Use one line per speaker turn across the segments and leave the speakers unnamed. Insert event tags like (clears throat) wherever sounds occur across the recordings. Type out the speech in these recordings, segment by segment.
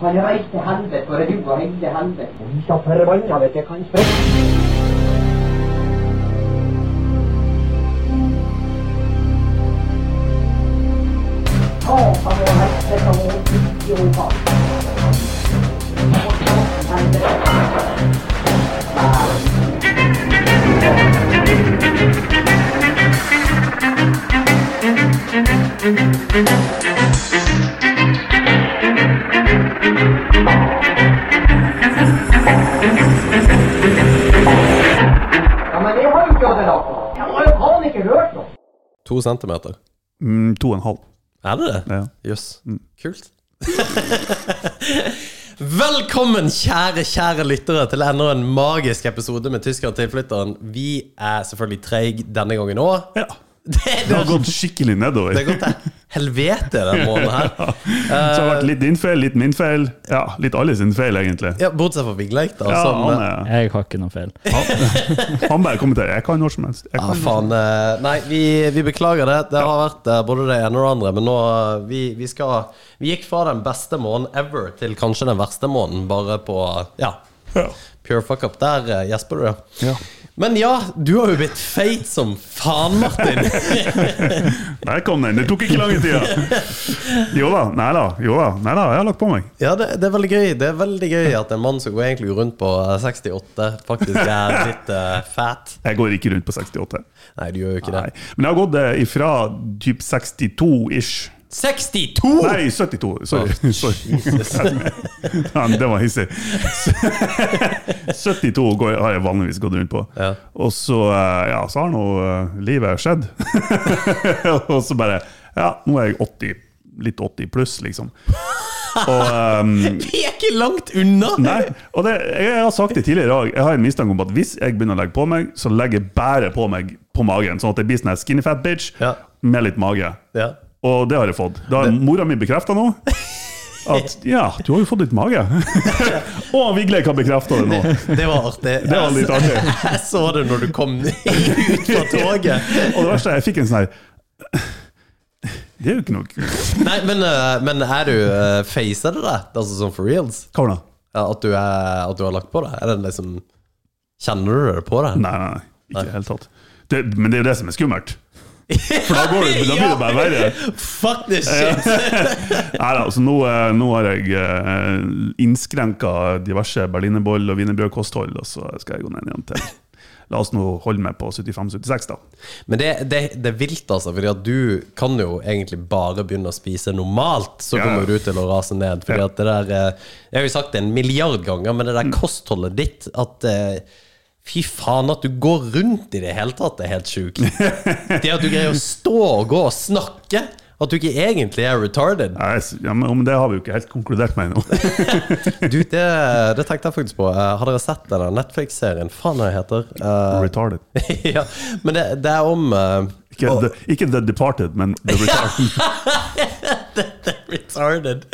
Kan jeg reise til helvete, for du har reist til helvete. Så forbanna vet jeg kanskje. Ja, men jeg har jo ikke hatt det nok. Jeg har jo faen ikke hørt noe.
To centimeter.
Mm, to og en halv.
Er det det?
Ja. Mm.
Jøss. Kult. (laughs) Velkommen, kjære, kjære lyttere, til enda en magisk episode med Tysker og tilflytteren. Vi er selvfølgelig treige denne gangen òg.
ja.
(laughs) Det,
Det
det,
har gått skikkelig nedover.
det har gått til helvete denne måneden her.
(laughs) Så det har vært litt din feil, litt min feil. Ja, litt alle sin feil, egentlig.
Ja, Bortsett fra Vigleik, da.
Ja,
som,
han,
eh,
er,
Jeg har ikke noe feil.
han (laughs) bare kommenterer. Jeg kan når som helst. Jeg
Ja,
kan.
faen. eh, Nei, vi, vi beklager det. Det har vært eh, både det ene og det andre. Men nå eh, vi, vi skal Vi gikk fra den beste måneden ever til kanskje den verste måneden, bare på eh, Ja.
Ja.
Pure fuck up der, eh, gjesper du.
Ja.
Men ja, du har jo blitt feit som faen,
(laughs)
Martin.
Der kom den. Det tok ikke lange
(laughs)
tida. Jo da. Nei da. Jo da. Nei da, jeg har lagt på meg.
Ja, det, det er veldig gøy Det er veldig gøy at en mann som går egentlig rundt på eh, 68, faktisk er litt eh, fat.
Jeg går ikke rundt på 68.
Nei, du gjør jo ikke det.
Nei. Men jeg har gått eh, ifra typ 62-ish
62!
Nei, 72. Sorry. (laughs) Sorry. Ja, men det var hissig. (laughs) 72 går, har jeg vanligvis gått rundt på.
Ja.
Og så, eh, ja, så har nå eh, livet skjedd. (laughs) og så bare Ja, nå er jeg 80. Litt 80 pluss, liksom. Og ehm,
(laughs) Vi er ikke langt unna!
Nei, og det, jeg har sagt det tidligere i dag. Jeg har en mistanke om at hvis jeg begynner å legge på meg, så legger jeg bare på meg på magen. Sånn at jeg blir sånn her skinny fat bitch
Ja.
med litt mage.
Ja.
Og det har jeg fått. Da har mora mi bekrefta nå. At ja, du har jo fått litt mage. (laughs) og Vigleik har bekrefta det nå.
Det var artig.
Det var litt artig.
Jeg (laughs) så det når du kom ut fra toget.
Og det verste er jeg fikk en sånn her Det er jo ikke noe kult.
Nei, men, eh, men er du eh, facer det der? Altså sånn for reals?
Hva var det?
Ja, At du, er, at du har lagt på det? Er det liksom Kjenner du det på det?
Nei, nei, nei. Ikke i det hele tatt. Det, men det er jo det som er skummelt. For da, går det, da blir det bare verre.
Fuck this shit!
Nei da, så nå, eh, nå har jeg eh, innskrenka diverse berlinerboll- og wienerbrødkosthold, og så skal jeg gå ned igjen til La oss nå holde meg på 75-76, da.
Men det, det, det er vilt, altså. Fordi at du kan jo egentlig bare begynne å spise normalt, så
Ja, ja.
kommer du til å rase ned. Fordi
Ja. Mm.
at det der eh, Jeg har jo sagt det en milliard ganger, men det der kostholdet ditt at eh, Fy faen, at du går rundt i det hele tatt, er helt
(laughs)
sjukt. Det at du greier å stå og gå og snakke. At du ikke egentlig er retarded.
Nei, s- Ja, men, men det har vi jo ikke helt konkludert
(laughs)
med ennå.
Du, det, det tenkte jeg faktisk på. Eh, Har dere sett den der Netflix-serien? Faen, hva den heter Eh, (laughs)
Retarded.
ja, Men det, det er om eh,
Ikke, the, ikke The Departed, men
(laughs)
The Retarded.
(laughs) retarded.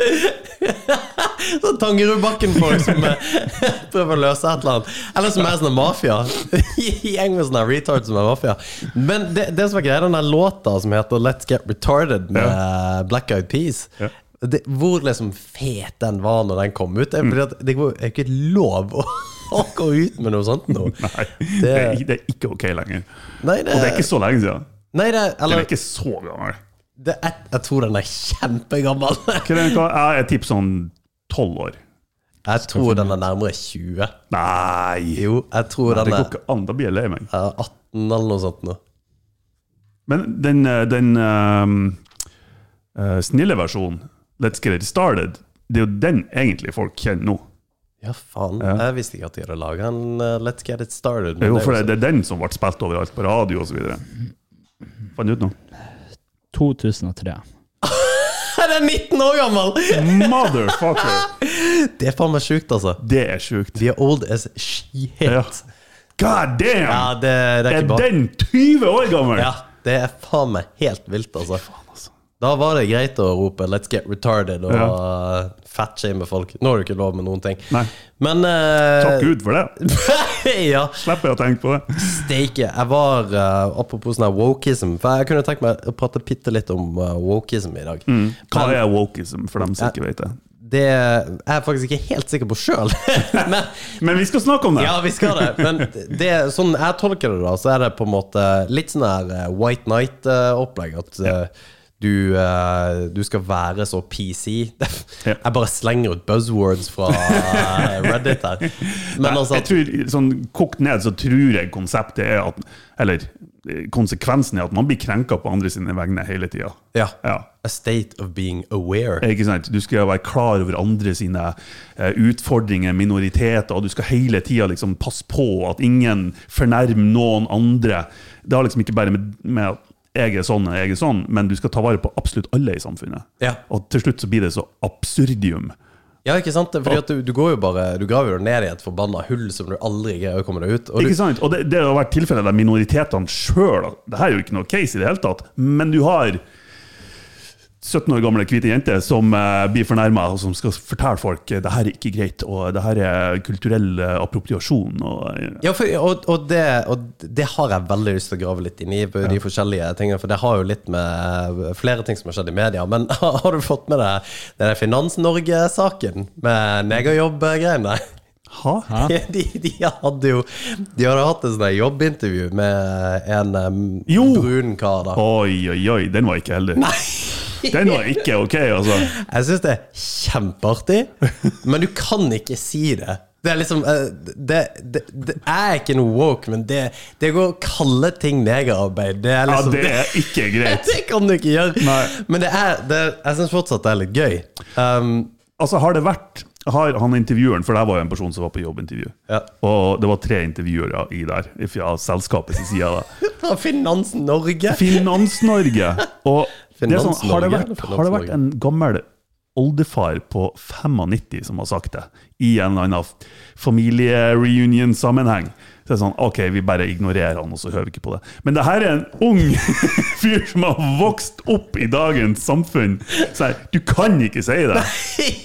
sånn Tangerudbakken-folk som eh, (laughs) prøver å løse et eller annet. Eller som er sånn mafia. (laughs) Gjeng med sånne retards som er mafia. Men det, det som er greia, den der låta som heter 'Let's Get Retarded' med Black Eyed Peas
Ja.
det, Hvor liksom fet den var når den kom ut. Det er, fordi at det går- er jo ikke lov å, (laughs) å gå ut med noe sånt nå.
(laughs) Nei, det er, det er ikke ok lenger.
Nei, det,
Og det er ikke så lenge siden.
nei, det, er-
Den
eller,
er ikke så gammel.
det er, jeg tror den er kjempegammel. (laughs)
Hva er den- hva- Jeg er tipp sånn 12 år.
Jeg tror den er nærmere 20.
Nei!
Jo, jeg tror
Det
den
går
er
ikke an. Da blir jeg lei meg.
Ja, 18 eller noe sånt nå.
Men den, eh, den ehm, eh, snille versjonen, Let's Get It Started, det er jo den egentlig folk kjenner nå.
Ja, faen.
Ja.
Jeg visste ikke at de hadde laga en eh, Let's Get It Started. men
Jo,
det er
for det,
jo
det er den som ble spilt overalt på radio osv. Fant du ut noe?
2003.
(laughs) sånn- Den er 19 år gammel!
Motherfucker!
(laughs) Det er faen meg sjukt, altså.
Det er sjukt.
De er old as shit.
Ja.
Ja,
God damn!
det, det er
Er
ikke bra.
den 20 år gammel?
Ja, det er faen meg helt vilt, altså. Da var det greit å rope 'let's get retarded' og ja. fatshame folk. Nå har du ikke lov med noen ting.
Nei.
Men eh,
Takk Gud for det.
(laughs) ja,
Slipper jeg å tenke på det.
steike. Jeg var eh, Apropos sånn her wokeism, for jeg kunne tenkt meg å prate bitte litt om eh, wokeism i dag.
Hva
Men
er wokeism, for dem som ikke vet det?
det er jeg faktisk ikke helt sikker på sjøl. (laughs)
Men vi skal snakke om det!
Ja, vi skal det. Men det, er sånn jeg tolker det, da, så er det på en måte litt sånn her eh, White Night-opplegg. At eh, du, eh, du skal være så (laughs) PC.
Ja.
Jeg bare slenger ut buzzwords fra eh, Reddit
(laughs)
her. Men altså
jeg
at,
tror, sånn Kokt ned så tror jeg konseptet er at Eller eh, konsekvensen er at man blir krenka på andre sine vegne hele tida.
Ja.
Ja.
A state of being aware.
Ikke sant? Du skal være klar over andre sine eh, utfordringer, minoriteter, og du skal hele tida liksom passe på at ingen fornærmer noen andre. Det har liksom ikke bare med, med at jeg er sånn og jeg er sånn, men du skal ta vare på absolutt alle i samfunnet.
Ja.
Og til slutt så blir det så absurdium.
Ja, ikke sant? Fordi at du, du går jo bare Du graver jo ned i et forbanna hull som du aldri greier å komme deg ut. Og
Ikke
du,
sant? Og det, det har vært tilfellet der minoritetene sjøl Det her er jo ikke noe case i det hele tatt, men du har 17 år gamle hvite jenter som eh, blir fornærma, og som skal fortelle folk eh, det her er ikke greit, og det her er kulturell eh, appropriasjon. Og, eh,
Ja, for, og, og, det, og det har jeg veldig lyst til å grave litt inn i, på de forskjellige tingene. For det har jo litt med eh, flere ting som har skjedd i media. Men (laughs) har du fått med deg den der Finans-Norge-saken med negerjobb-greiene?
Hæ?
(laughs) De, de hadde jo De hadde hatt et sånt der jobbintervju med en em,
Jo.
brun kar, da.
Oi, oi, oi, den var ikke heldig. Den var ikke ok, altså.
Jeg syns det er kjempeartig, men du kan ikke si det. Det er liksom eh, det, det, det er ikke noe woke, men det, det går å kalle ting negerarbeid. Det er
Ja,
liksom
det er ikke
(laughs)
greit.
Det kan du ikke gjøre.
Nei.
Men det er, det, jeg syns fortsatt det er litt gøy. Um,
Altså, har det vært har han intervjueren, for det her var jo en person som var på jobbintervju.
Ja.
Og det var tre intervjuere i der, fra selskapets side. da.
fra Finans Norge.
Finans-Norge. Og det er
Finans-Norge,
sånn, har, det
eller
vært, har det
Finans-Norge?
vært en gammel oldefar på 95 som har sagt det, i en eller annen familiereunion-sammenheng? Så det er sånn, OK, vi bare ignorerer han, og så hører vi ikke på det. Men det her er en ung (laughs) fyr som har vokst opp i dagens samfunn. Så her, du kan ikke si det!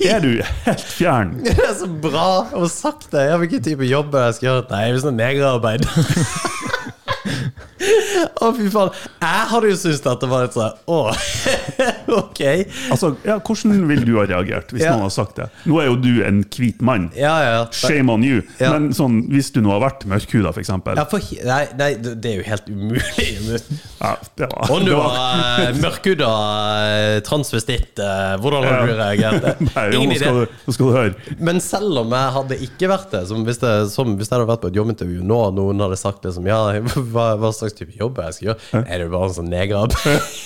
Er du helt fjern?
(laughs) Det er så bra å ha sagt det. Ja, hvilken type jobb er det jeg skal gjøre? Nei, hvis det er negerarbeid. (laughs) Å, fy faen. Jeg hadde jo syntes at det var litt sånn Å, (laughs) ok.
Altså, ja, Hvordan vil du ha reagert hvis
Ja.
noen har sagt det? Nå er jo du en hvit mann.
Ja, ja.
Shame on you.
Ja.
Men sånn, hvis du nå har vært mørkhuda, f.eks.
ja
Ja.
for, he- nei, nei, det det er jo helt
(laughs)
umulig.
Ja, det var-
Om du
det var-
var eh, mørkhuda eh, transvestitt, eh, hvordan hadde du
Ja. (laughs)
reagert?
Nei, jo,
Ingen
nå,
idé.
skal du, nå skal du høre.
Men selv om jeg hadde ikke vært det, som hvis, det som hvis jeg hadde vært på et jobbintervju nå, og noen hadde sagt liksom Ja, (laughs) hva, hva slags type jobb er det jeg skal gjøre? Er det bare en sånn
(laughs)
negerarbeid?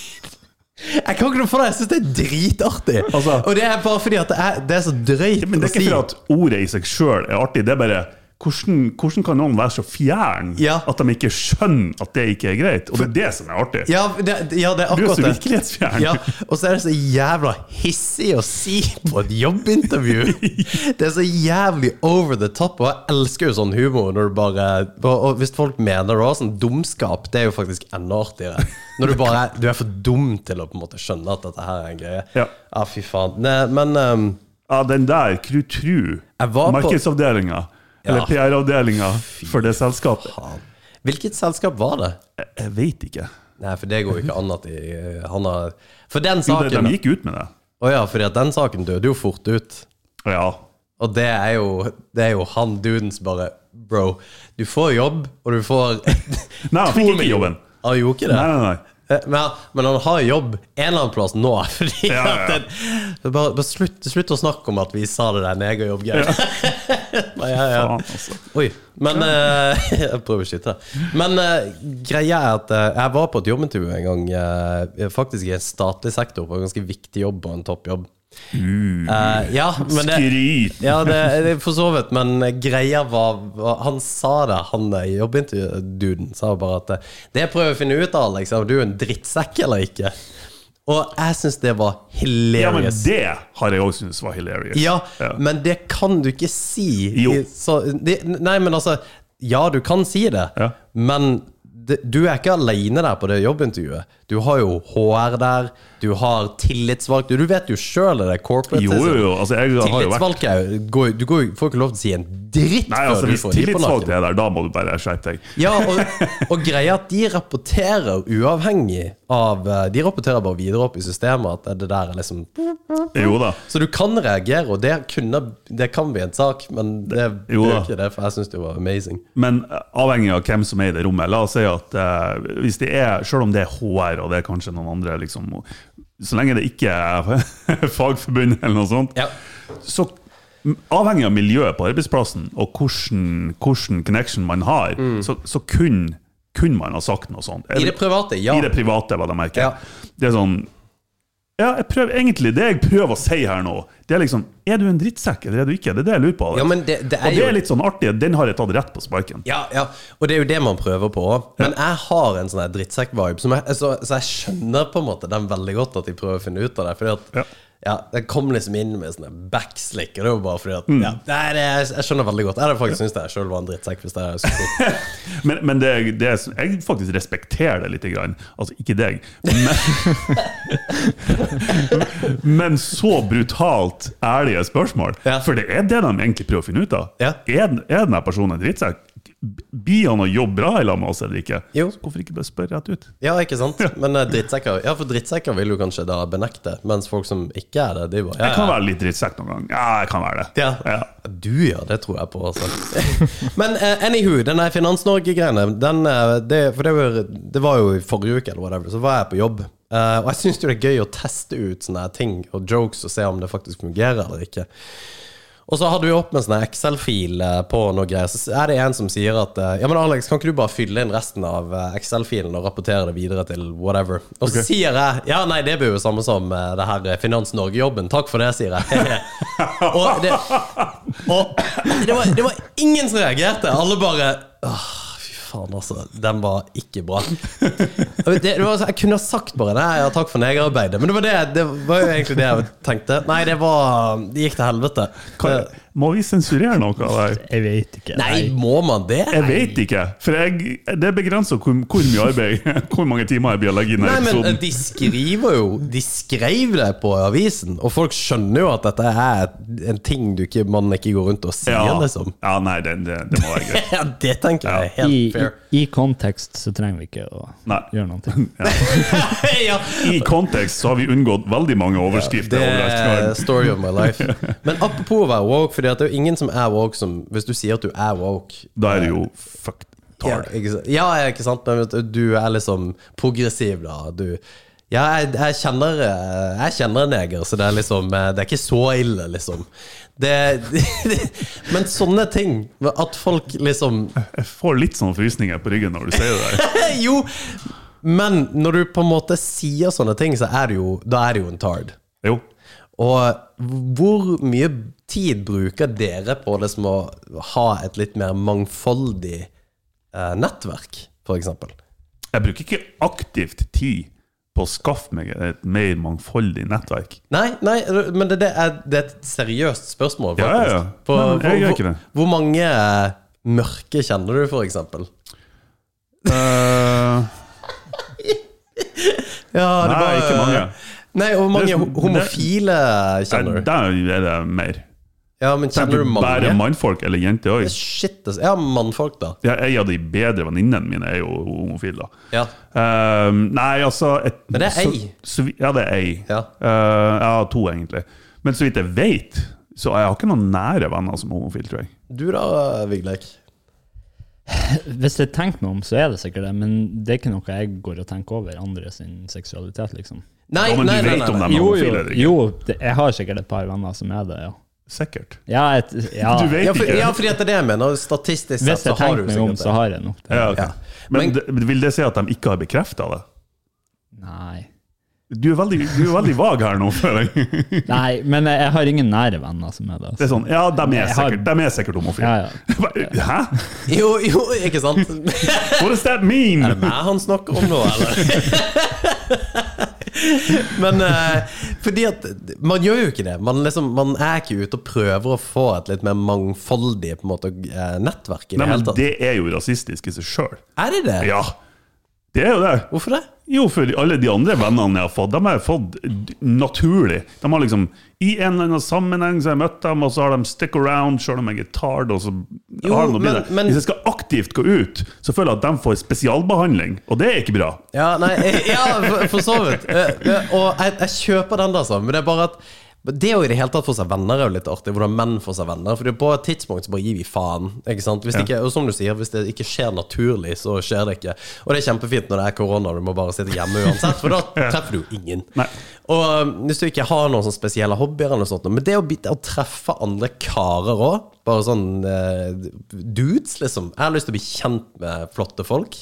Jeg kan ikke noe for det, jeg syns det er dritartig.
Altså-
og det er bare fordi at det er, det er så drøyt
Men det er
å
ikke
si.
for at ordet i seg sjøl er artig, det er bare hvordan, hvordan kan noen være så fjern
Ja.
at de ikke skjønner at det ikke er greit? Og det er det som er artig.
Ja, det, ja, det er
Du er
akkurat
så
det.
virkelighetsfjern.
Ja, og så er det så jævla hissig å si på et jobbintervju. Det er så jævlig over the top, og jeg elsker jo sånn humor når du bare Og og hvis folk mener det også, sånn dumskap, det er jo faktisk enda artigere. Når du bare Du er for dum til å på en måte skjønne at dette her er en greie. Ah,
Ja.
fy faen. Nei, men ehm,
Ja, den der, Krutru,
Jeg var på-
markedsavdelinga, eller
Ja.
PR-avdelinga for det selskapet,
faen. Hvilket selskap var det?
jeg, jeg veit ikke.
Nei, for det går jo ikke an at de eh, Han har For den
Jo, de,
saken
de gikk ut med det.
Å ja, fordi at den saken døde jo fort ut.
Ja.
Og det er jo, det er jo han duden som bare Bro, du får jobb, og du
(laughs)
får
Nei,
to
han fikk ikke
millioner.
jobben.
Han gjorde ikke det?
Nei, nei, nei.
Eh, Men, men han har jobb en eller annen plass nå. (laughs) Fordi
Ja, ja, ja.
at det, bare, bare slutt, slutt å snakke om at vi sa det der negerjobb-greiet. Ja. ja, ja.
Faen, altså.
Oi. Men eh, (laughs) Jeg prøver å skyte. Men eh, greia er at eh, jeg var på et jobbintervju en gang, eh, faktisk i en statlig sektor, på en ganske viktig jobb og en toppjobb. Eh, ja, men det,
Mm. Skryt!
ja, det, det er for så vidt, men greia var, var Han sa det, han eh, jobbintervju-duden sa bare at eh, Det jeg prøver å finne ut av, Alex, er om du er en drittsekk eller ikke. Og jeg syns det var
Ja, men
hilarious.
det har jeg òg syntes var hilarious.
Ja, men det kan du ikke si.
Jo.
I- Så, det, nei, men altså Ja, du kan si det,
Ja.
men det, du er ikke aleine der på det jobbintervjuet. Du har jo HR der, du har tillitsvalgt Du vet jo sjøl det er corporate.
Jo, jo, jo. Altså, jeg har jo vært
Tillitsvalgt er jo går jo- Du går, jo- får ikke lov til å si en dritt
Nei,
før
altså,
du
hvis
får de på
tillitsvalgt
nakken.
er der, da må du bare skjerpe deg.
Ja, og, og greia at de rapporterer uavhengig av eh, De rapporterer bare videre opp i systemet at det der er liksom
Jo da.
Så du kan reagere, og det, kunne, det kan bli en sak, men det blir
Jo
jo
da.
ikke det, for jeg syns det var amazing.
Men eh, avhengig av hvem som er i det rommet, la oss si at eh, hvis det er, selv om det er HR og det er kanskje noen andre, liksom, og- så lenge det ikke er (laughs) fagforbundet eller noe sånt,
Ja.
så m- avhengig av miljøet på arbeidsplassen og hvordan, hvordan connection man har, så, så kun, kun man ha sagt noe sånt.
Mm. I det private, ja.
I det private, hva jeg merker.
Ja.
Det er sånn ja, jeg prøver, egentlig det jeg prøver å si her nå, det er liksom Er du en drittsekk, eller er du ikke? Det er det jeg lurer på. Alex.
Ja, men det- det er
og det
jo-
er litt sånn artig. Den har jeg tatt rett på sparken.
Ja, ja, og det er jo det man prøver på òg. Men jeg har en sånn her drittsekk-vibe, som jeg- så, så jeg skjønner på en måte den veldig godt at de prøver å finne ut av det. Fordi at
Ja.
ja. Jeg kom liksom inn med sånne backslick, og det var bare fordi at
Mm.
ja, Nei, det, jeg, jeg skjønner veldig godt. Jeg hadde faktisk syntes jeg sjøl var en drittsekk hvis jeg skulle si det.
Men, men det, det, jeg faktisk respekterer det litt. Grann. Altså, ikke deg. Men, men (laughs) så brutalt ærlige spørsmål.
Ja.
For det er det de egentlig prøver å finne ut av.
Ja.
Er, den- er denne personen en drittsekk? Blir han å jobbe bra i lag med oss eller ikke?
Jo.
Så hvorfor ikke bare spørre rett ut?
Ja, ikke sant? Men eh, drittsekker Ja, for drittsekker vil jo kanskje da benekte, mens folk som ikke er det, de bare ja,
Jeg
ja.
kan være litt drittsekk noen gang. Ja, jeg kan være det.
Ja. Du ja, det tror jeg på. Altså. (laughs) Men eh, anywho, den der Finans-Norge-greiene den, eh, det, For det var, det var jo i forrige uke, eller whatever, så var jeg på jobb. Eh, og jeg syns jo det er gøy å teste ut sånne her ting og jokes og se om det faktisk fungerer eller ikke. Og så hadde vi opp med sånn her Excel-fil eh, på noe greier. Så er det en som sier at eh, Ja, men Alex, kan ikke du bare fylle inn resten av eh, Excel-filen og rapportere det videre til whatever? Og så sier jeg Ja, nei, det blir jo samme som eh, det her eh, Finans Norge-jobben. Takk for det, sier jeg. (laughs) og det, og det, var, det var ingen som reagerte. Alle bare Åh, fy faen, altså. Den var ikke bra. Jeg vet, Det, det var, så- jeg kunne ha sagt bare Nei, ja, takk for negerarbeidet. Men det var, det, det var jo egentlig det jeg tenkte. Nei, det var Det gikk til helvete.
Kan, må vi sensurere noe av det? her?
Jeg vet ikke.
Nei, må man det?
Jeg vet ikke, for jeg, det er begrenset hvor, hvor mye arbeid, (laughs) hvor mange timer jeg blir å legge inn i
Nei, men eh,
episoden.
de skriver jo De skrev det på avisen, og folk skjønner jo at dette er en ting du ikke, man ikke går rundt og sier,
Ja,
liksom. (laughs)
ja nei, det, det, det må være greit.
Ja, det tenker jeg er
I,
helt
i,
fair.
I kontekst så trenger vi ikke å
Nei.
gjøre noe.
(laughs) ja.
I kontekst så har vi unngått veldig mange overskrifter.
Det er
overalt.
story of my life. Men apropos å være woke, Fordi at det er jo ingen som er woke som Hvis du sier at du er woke
Da er det jo fuck
ja,
tard.
ikke, sant? ja, ja, ikke sant, men vet du, du er liksom progressiv, da. Du ja, jeg, jeg kjenner eh, Jeg kjenner en neger, så det er liksom eh, Det er ikke så ille, liksom. Det, (laughs) men sånne ting, at folk liksom (laughs)
Jeg får litt sånne frysninger på ryggen når du sier det der.
Jo! Men når du på en måte sier sånne ting, så er det jo Da er det jo en tard.
Jo.
Og hvor mye tid bruker dere på liksom å ha et litt mer mangfoldig eh, nettverk, f.eks.?
Jeg bruker ikke aktivt tid på å skaffe meg et mer mangfoldig nettverk.
Nei, nei, men det, det, er, det er et seriøst spørsmål,
Ja,
faktisk.
ja, ja.
For
Nei, men jeg gjør
hvor,
ikke det.
hvor, hvor mange eh, mørke kjenner du, f.eks.?
Eh,
Ja,
Nei, ikke mange.
Nei, og hvor mange
Det er-
ho- homofile
der,
kjenner du?
der er det mer.
Ja, men kjenner du
Bare
mange?
mannfolk eller jenter òg.
Shit, altså. Ja, mannfolk, da.
Jeg av de bedre venninnene mine er jo homofile. da.
Ja.
Ehm, nei, altså et,
Men det er ei.
Så, så, vi- ja, det er ei.
Ja.
Eh, ja, to, egentlig. Men så vidt jeg vet, så jeg har ikke noen nære venner som er homofile, tror jeg.
Du da, Vigleik?
Hvis jeg tenker meg om, så er det sikkert det, men det er ikke noe jeg går og tenker over andre sin seksualitet, liksom.
Nei,
Ja, men
nei,
du
nei,
vet
nei,
om
nei.
dem er
Jo, jo,
homofile, eller ikke?
jo det, jeg har sikkert et par venner som er det, ja.
Sikkert.
Ja, et, ja.
Du vet
Ah. Ja, for,
ikke.
ja, fordi at det er det jeg mener. Statistisk sett
Hvis
så
jeg
har du
tenker meg om,
sikkert
så
det.
har jeg nok det.
Ja, ok.
Ja.
Men,
Men-
det- vil det si at de ikke har bekrefta det?
Nei.
Du er veldig, du er veldig vag her nå, føler jeg.
Nei, men jeg, jeg har ingen nære venner som er det. altså.
Det er sånn, ja, de er
Jeg har-
sikkert, de er sikkert homofile.
Ja,
(laughs) Hæ?
Jo, jo, ikke
(laughs)
sant?
What does that mean?
Er det meg han snakker om nå, eller? (laughs) Men eh, fordi at man gjør jo ikke det. Man, liksom, man er ikke ute og prøver å få et litt mer mangfoldig på en måte, eh, nettverk i det
Nei, men
hele tatt.
det er jo rasistisk i seg sjøl.
Er det det?
Ja, det er jo det.
Hvorfor det?
Jo, for alle de andre vennene jeg har fått, de har jeg fått d- naturlig. De har liksom, I en eller annen sammenheng så har jeg møtt dem, og så har de stick around, sjøl om jeg er tard. og så
Jo,
har de noe
men-
bedre.
men-
Hvis jeg skal aktivt gå ut, så føler jeg at de får spesialbehandling, og det er ikke bra.
Ja, nei, eh, ja for, for så vidt. Eh, eh, Og jeg, jeg kjøper den, altså. Men det er bare at det å i det hele tatt få seg venner er jo litt artig. Hvordan menn får seg venner. For det er på et tidspunkt så bare gir vi faen. Ikke sant? Hvis det ikke, og som du sier, hvis det ikke skjer naturlig, så skjer det ikke. Og det er kjempefint når det er korona og du må bare sitte hjemme uansett, for da treffer du jo ingen.
Nei.
Og um, hvis du ikke har noen sånne spesielle hobbyer eller noe sånt, men det å, bli- å treffe andre karer òg, bare sånn eh, dudes, liksom Jeg har lyst til å bli kjent med flotte folk.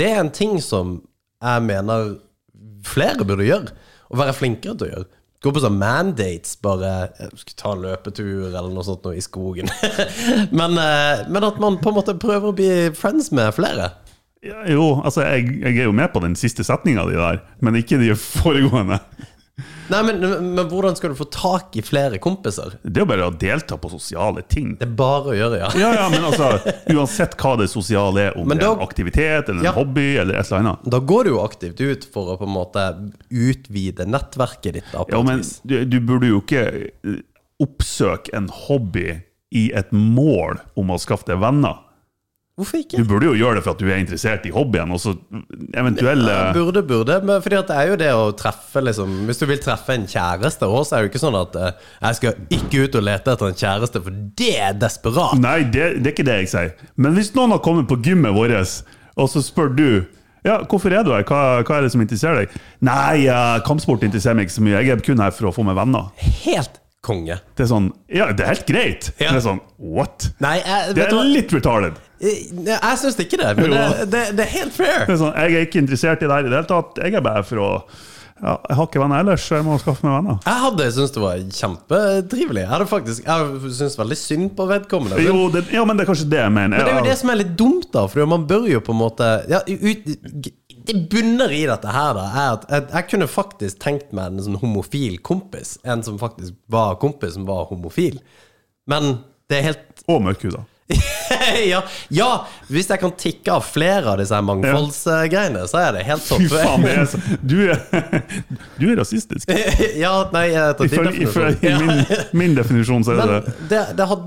Det er en ting som jeg mener flere burde gjøre, og være flinkere til å gjøre. Gå på sånn mandates, bare eh, skal ta en løpetur eller noe sånt noe i skogen. (laughs) men, eh, men at man på en måte prøver å bli friends med flere.
Ja, Jo, altså, jeg, jeg er jo med på den siste setninga di der, men ikke de foregående.
Nei, men, men hvordan skal du få tak i flere kompiser?
Det er jo bare å delta på sosiale ting.
Det er bare å gjøre, ja.
Ja, ja, men altså, uansett hva det sosiale er, om
Men
det
da-
er en aktivitet eller en
Ja.
hobby eller et eller annet.
Da går du jo aktivt ut for å på en måte utvide nettverket ditt. Da, på
Ja,
et
men
vis.
du, du burde jo ikke eh, oppsøke en hobby i et mål om å skaffe deg venner.
Hvorfor ikke?
Du burde jo gjøre det for at du er interessert i hobbyen, og så eventuelle
Burde, burde. Men fordi at det er jo det å treffe liksom, Hvis du vil treffe en kjæreste òg, så er det jo ikke sånn at eh, 'jeg skal ikke ut og lete etter en kjæreste', for det er desperat.
Nei, det, det er ikke det jeg sier. Men hvis noen har kommet på gymmet vårt, og så spør du ja, hvorfor er du her, hva, hva er det som interesserer deg? Nei, eh, kampsport interesserer meg ikke så mye, jeg er kun her for å få meg venner.
Helt konge.
Det er sånn, ja, det er helt greit.
Ja.
Men Det er sånn, what?
Nei, jeg,
Det
vet
er
du hva?
litt retarded.
jeg, jeg syns ikke det. Men det,
Jo.
det, det er helt fair.
Det er sånn, jeg er ikke interessert i det her i det hele tatt. Jeg er bare for å ja, Jeg har ikke venner ellers, så jeg må skaffe meg venner.
Jeg hadde syntes det var kjempetrivelig. Jeg hadde faktisk Jeg syns veldig synd på vedkommende. men-
Jo, det, ja, men det er kanskje det jeg mener.
Men det er jo det
Ja,
som er litt dumt, da. For man bør jo på en måte ja, ut, Det bunner i dette her, da. Er at jeg, jeg kunne faktisk tenkt meg en sånn homofil kompis. En som faktisk var kompis, som var homofil. Men det er helt (laughs)
Og mørkhuda.
ja, ja, hvis jeg kan tikke av flere av disse her mangfoldsgreiene, så er det helt topp.
Fy faen, det er så, du, er, (laughs) du er rasistisk.
(laughs) ja, nei, etter din
Ifølge
definisjon.
ifølge min, min definisjon så er det det.
sånn. Men det, det hadde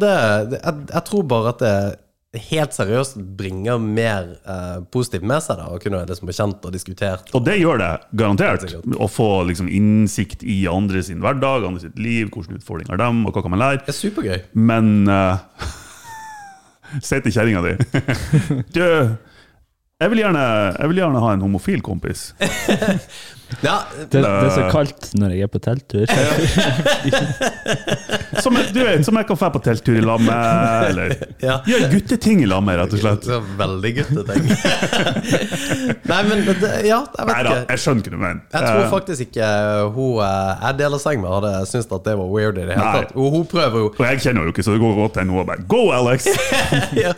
det, jeg, jeg tror bare at det helt seriøst bringer mer eh, positivt med seg, da. Å kunne liksom bli kjent og diskutert.
Og det gjør det, garantert.
Helt
Å få liksom innsikt i andre sin hverdag, andre sitt liv, hvilke utfordringer dem, og hva kan man lære.
Det er supergøy.
Men eh, (laughs) Si til kjerringa di Du, jeg vil, gjerne, jeg vil gjerne ha en homofil kompis.
Ja,
Det, det er så kaldt når jeg er på telttur.
Som, jeg- du vet, som jeg kan dra på telttur i lag med, eller
Ja.
gjøre gutteting i lag med, rett og slett.
det er veldig gutteting. (laughs) Nei, men det, Ja, jeg
Nei
vet
da,
ikke.
jeg skjønner ikke hva du mener.
Jeg tror
Eh,
faktisk ikke hun eh, Jeg deler seng med hadde syntes at det var weird i det hele
Nei.
tatt. Og hun prøver
(laughs)
jo (laughs)
og jeg kjenner jo ikke, så det går godt til henne. og bare Go, Alex!
ja.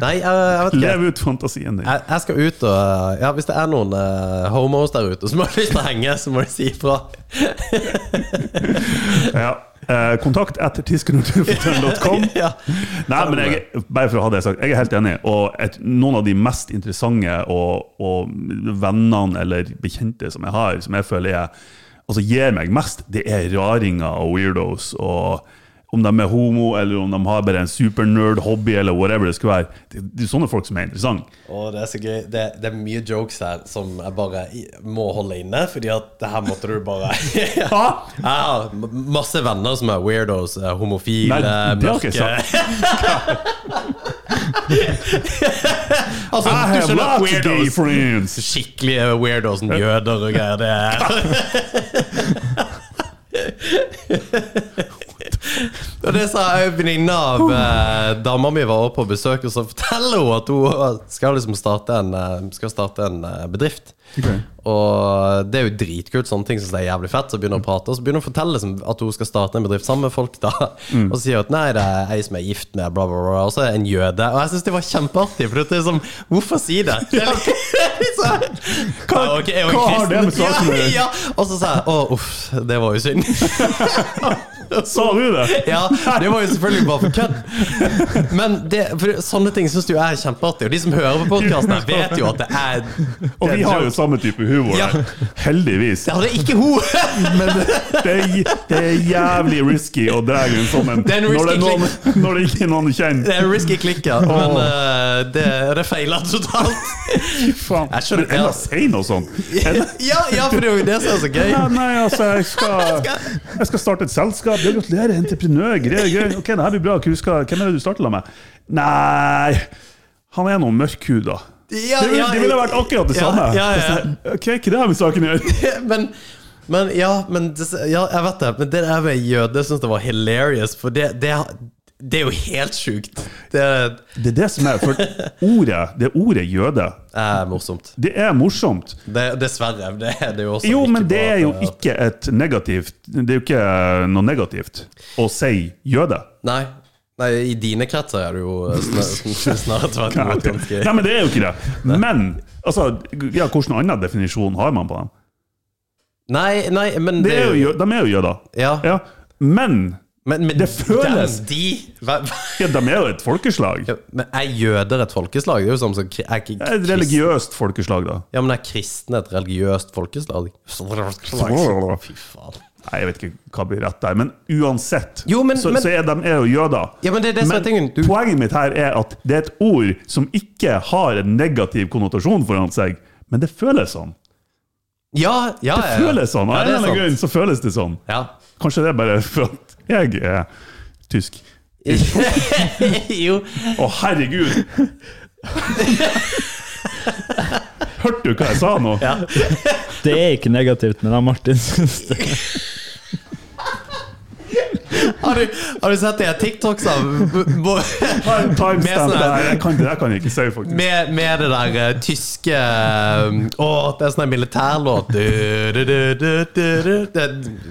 Nei, jeg, jeg vet ikke.
Lev ut fantasien din.
Jeg, jeg skal ut og Ja, hvis det er noen eh, homos der ute som har lyst til å henge, så må de si ifra. (laughs)
Ja. Eh, kontakt etter tiskenurturfortell.com.
(laughs) Ja.
Nei, men jeg, bare for å ha det sagt, jeg er helt enig. Og et, noen av de mest interessante og, og vennene eller bekjente som jeg har, som jeg føler jeg, altså gir meg mest, det er raringer og weirdos. og Om de er homo, eller om de har bare en supernerd-hobby, eller whatever det skulle være. Det, det er sånne folk som er interessante.
Og det er så gøy. Det, det er mye jokes her som jeg bare i- må holde inne, fordi at det her måtte du bare (laughs) Jeg har m- masse venner som er weirdos, eh, homofile,
Nei, det har ikke
mørke
jeg
(laughs) Altså, du
I have
skjønner
lots of gay
weirdos.
friends!
Skikkelige weirdos, som jøder og greier. Det er Og det sa jeg venninna av eh, dama mi var også på besøk, og så forteller hun at hun skal liksom starte en, eh, skal starte en eh, bedrift. Og det er jo dritkult, sånne ting synes jeg er jævlig fett. Så begynner hun å prate, og så begynner hun å fortelle liksom, at hun skal starte en bedrift sammen med folk. da Og så sier hun at nei, det er ei som er gift med bla, bla, bla, og så er det en jøde. Og jeg syns det var kjempeartig, for det er sånn Hvorfor si det? det er (laughs) liksom, hva,
hva har det med saken å
ja,
gjøre?
ja. Og så sa jeg å, uff, det var jo synd. (laughs)
Sa du det?
Ja, det var jo selvfølgelig bare for kødd. Men det, for sånne ting syns du er kjempeartig. Og de som hører på podkasten, vet jo at det er
Og vi har jo samme type humor.
Ja.
her. Heldigvis.
Det hadde ikke hun!
(laughs) Men det er, det er jævlig risky å dra en sånn en
Det er en
når det, er
risky
noen, (laughs) når det ikke er noen du
Det
kjenner.
er risky klikker, men eh, det, det feiler totalt.
Faen.
Jeg skjønner-
Men enda si noe sånt. Enda-
(laughs) Ja, ja, for det er jo det som er så gøy.
Nei, nei, altså,
(laughs)
jeg skal, jeg skal starte et selskap. Ja, gratulerer, entreprenør. Greier, greier. Ok, det her blir bra. Hva skal, hvem er det du starter da med? Nei, han er noe mørkhuda.
Ja,
det, ville-
ja,
det ville vært akkurat det
ja,
samme.
ja, ja.
Ok, ikke det har med saken å gjøre.
(laughs) Men men ja, men det, ja, jeg vet det. Men det der med jøde syns jeg var hilarious, for det, det, det er jo helt sjukt. Det er
Det er det som er, for ordet, det ordet jøde,
eh, morsomt.
det er morsomt.
Det, dessverre. Det, er det er jo også
Jo,
ikke
men det
bra
er jo
at- eh,
ikke et negativt Det er jo ikke eh, noe negativt å si jøde.
Nei. Nei, i dine kretser er det jo snarere snar (laughs) tvert imot ganske
Nei, men det er jo ikke det. Men altså, ja, hvilken annen definisjon har man på dem?
Nei, nei, men
Det er jo, jø- de er jo jøder.
Ja.
Ja. Men
men, men
det føles-
dem, De hva- hva-
ja, de er jo et folkeslag.
Men er jøder et folkeslag? Det er jo som som er ikke
Et
krist-
religiøst folkeslag, da.
Ja, men er kristne et religiøst folkeslag? Fy faen.
Nei, jeg vet ikke hva blir rett der, men uansett
Jo, men-
så,
men-
så er de er jo jøder.
Ja, men det er det som er tingen. Du-
poenget mitt her er at det er et ord som ikke har en negativ konnotasjon foran seg, men det føles sånn.
Ja, ja, ja. ja.
Føles sånn. Av
Ja,
en
det er
eller annen
sant.
grunn så føles det sånn.
Ja. (laughs)
Kanskje det er bare for at jeg er tysk.
jo.
Å, herregud! Hørte du hva jeg sa nå?
Det er ikke negativt, men da Martin syns det.
Har du, har du sett det TikToks av (laughs)
Ta en
Med
Timestamp
sånn her-
der. Jeg kan, det der kan jeg ikke si, faktisk.
Med, med det der eh, tyske eh, Å, det er sånn en militærlåt du, du, du, du, du, du. Det,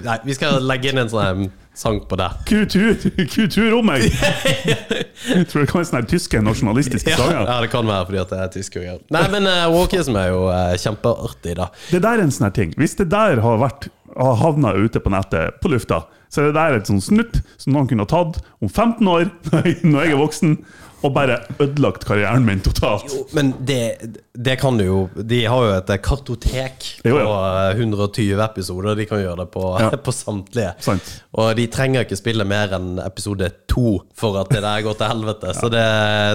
Nei, vi skal legge inn en sånn her sang på det.
Kultur, kultur om
(laughs)
meg! Jeg tror det kan være sånne her tyske nasjonalistiske
Ja,
sanger.
ja, det kan være fordi at det er tyske greier. Nei, men uh, walkism er jo eh, kjempeartig, da.
Det der er en sånn her ting. Hvis det der har vært har havna ute på nettet, på lufta, så er det der et sånn snutt som noen kunne ha tatt om 15 år, (laughs) når jeg er voksen, og bare ødelagt karrieren min totalt.
Men det, det kan du jo De har jo et eh, kartotek på
Jo, ja.
eh, 120 episoder. De kan gjøre det på,
Ja.
(laughs) på samtlige.
Sant.
Og de trenger ikke spille mer enn episode to for at det der går til
(laughs)
helvete. Så det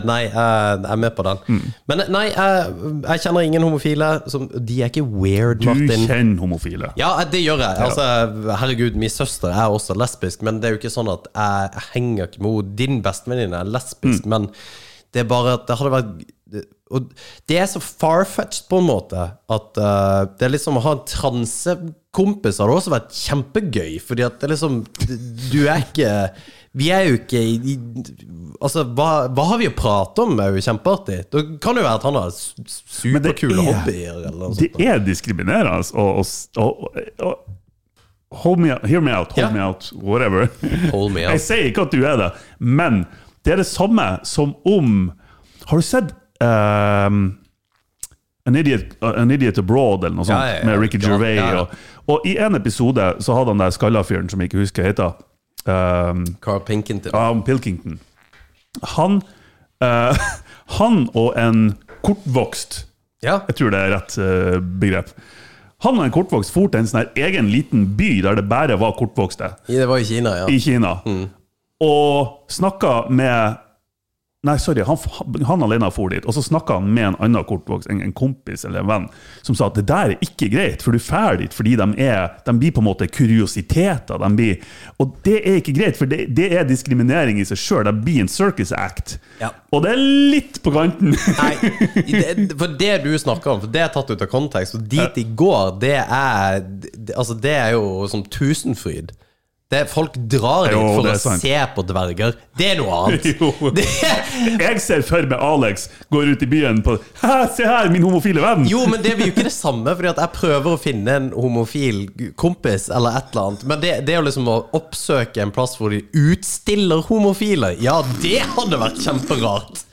Nei, jeg jeg er med på den.
Mm.
Men eh, nei, jeg, jeg kjenner ingen homofile. Som, de er ikke weird,
Du
Martin.
kjenner homofile.
Ja, eh, det gjør jeg. Altså, herregud, min søster er også lesbisk, men det er jo ikke sånn at jeg, jeg henger ikke med henne. Din bestevenninne er
Mm.
lesbisk, men det er bare at det hadde vært og Det er så far-fetched på en måte at eh, det er liksom å ha en transekompis hadde også vært kjempegøy, fordi at det er liksom Du er ikke Vi er jo ikke i i- Altså, hva, hva har vi å prate om? er jo kjempeartig. Det kan jo være at han har s-
det
superkule
er-
hobbyer eller noe
Det
sånt.
er diskriminerende. altså, Og, og, og, og Hold me, hear me out, hold
Ja.
me out, whatever.
Hold
(laughs)
me out.
Jeg sier ikke at du er det, men det er det samme som om Har du sett ehm, An Idiot, An Idiot Abroad eller noe sånt,
Ja, ja, ja.
med Ricky
Ja,
Gervais?
ja, ja.
Og, og i en episode så hadde han der skalla fyren som jeg ikke husker hva heter. ehm,
Carl Pinkington.
ja, om Pilkington. Han, eh, (laughs) han og en kortvokst
Ja.
jeg tror det er rett eh, begrep. Han og en kortvokst for til en sånn her egen liten by der det bare var kortvokste,
Det var i Kina, ja.
i Kina.
Mm.
Og snakka med Nei, sorry, han, han alene for dit. Og så snakka han med en annen kortvokst, en, en kompis eller en venn, som sa at det der er ikke greit, for du drar dit fordi de, er, de blir på en måte kuriositeter. De blir, og det er ikke greit, for det, det er diskriminering i seg sjøl. Det blir en circus act.
Ja.
Og det er litt på kanten.
Nei, det, for det du snakker om, for det er tatt ut av kontekst. Og dit de går, det er det- Altså, det er jo som Tusenfryd. Det Det er, folk drar dit
Jo,
for
det
å
er sant.
se på dverger. Det er noe
(laughs) Jo.
annet. Det,
(laughs) Jeg ser for meg Alex går ut i byen på «Hæ, Se her, min homofile venn!
jo, men det blir jo ikke det samme, Fordi at jeg prøver å finne en homofil kompis eller et eller annet. Men det, det å liksom å oppsøke en plass hvor de utstiller homofile, ja, det hadde vært kjemperart.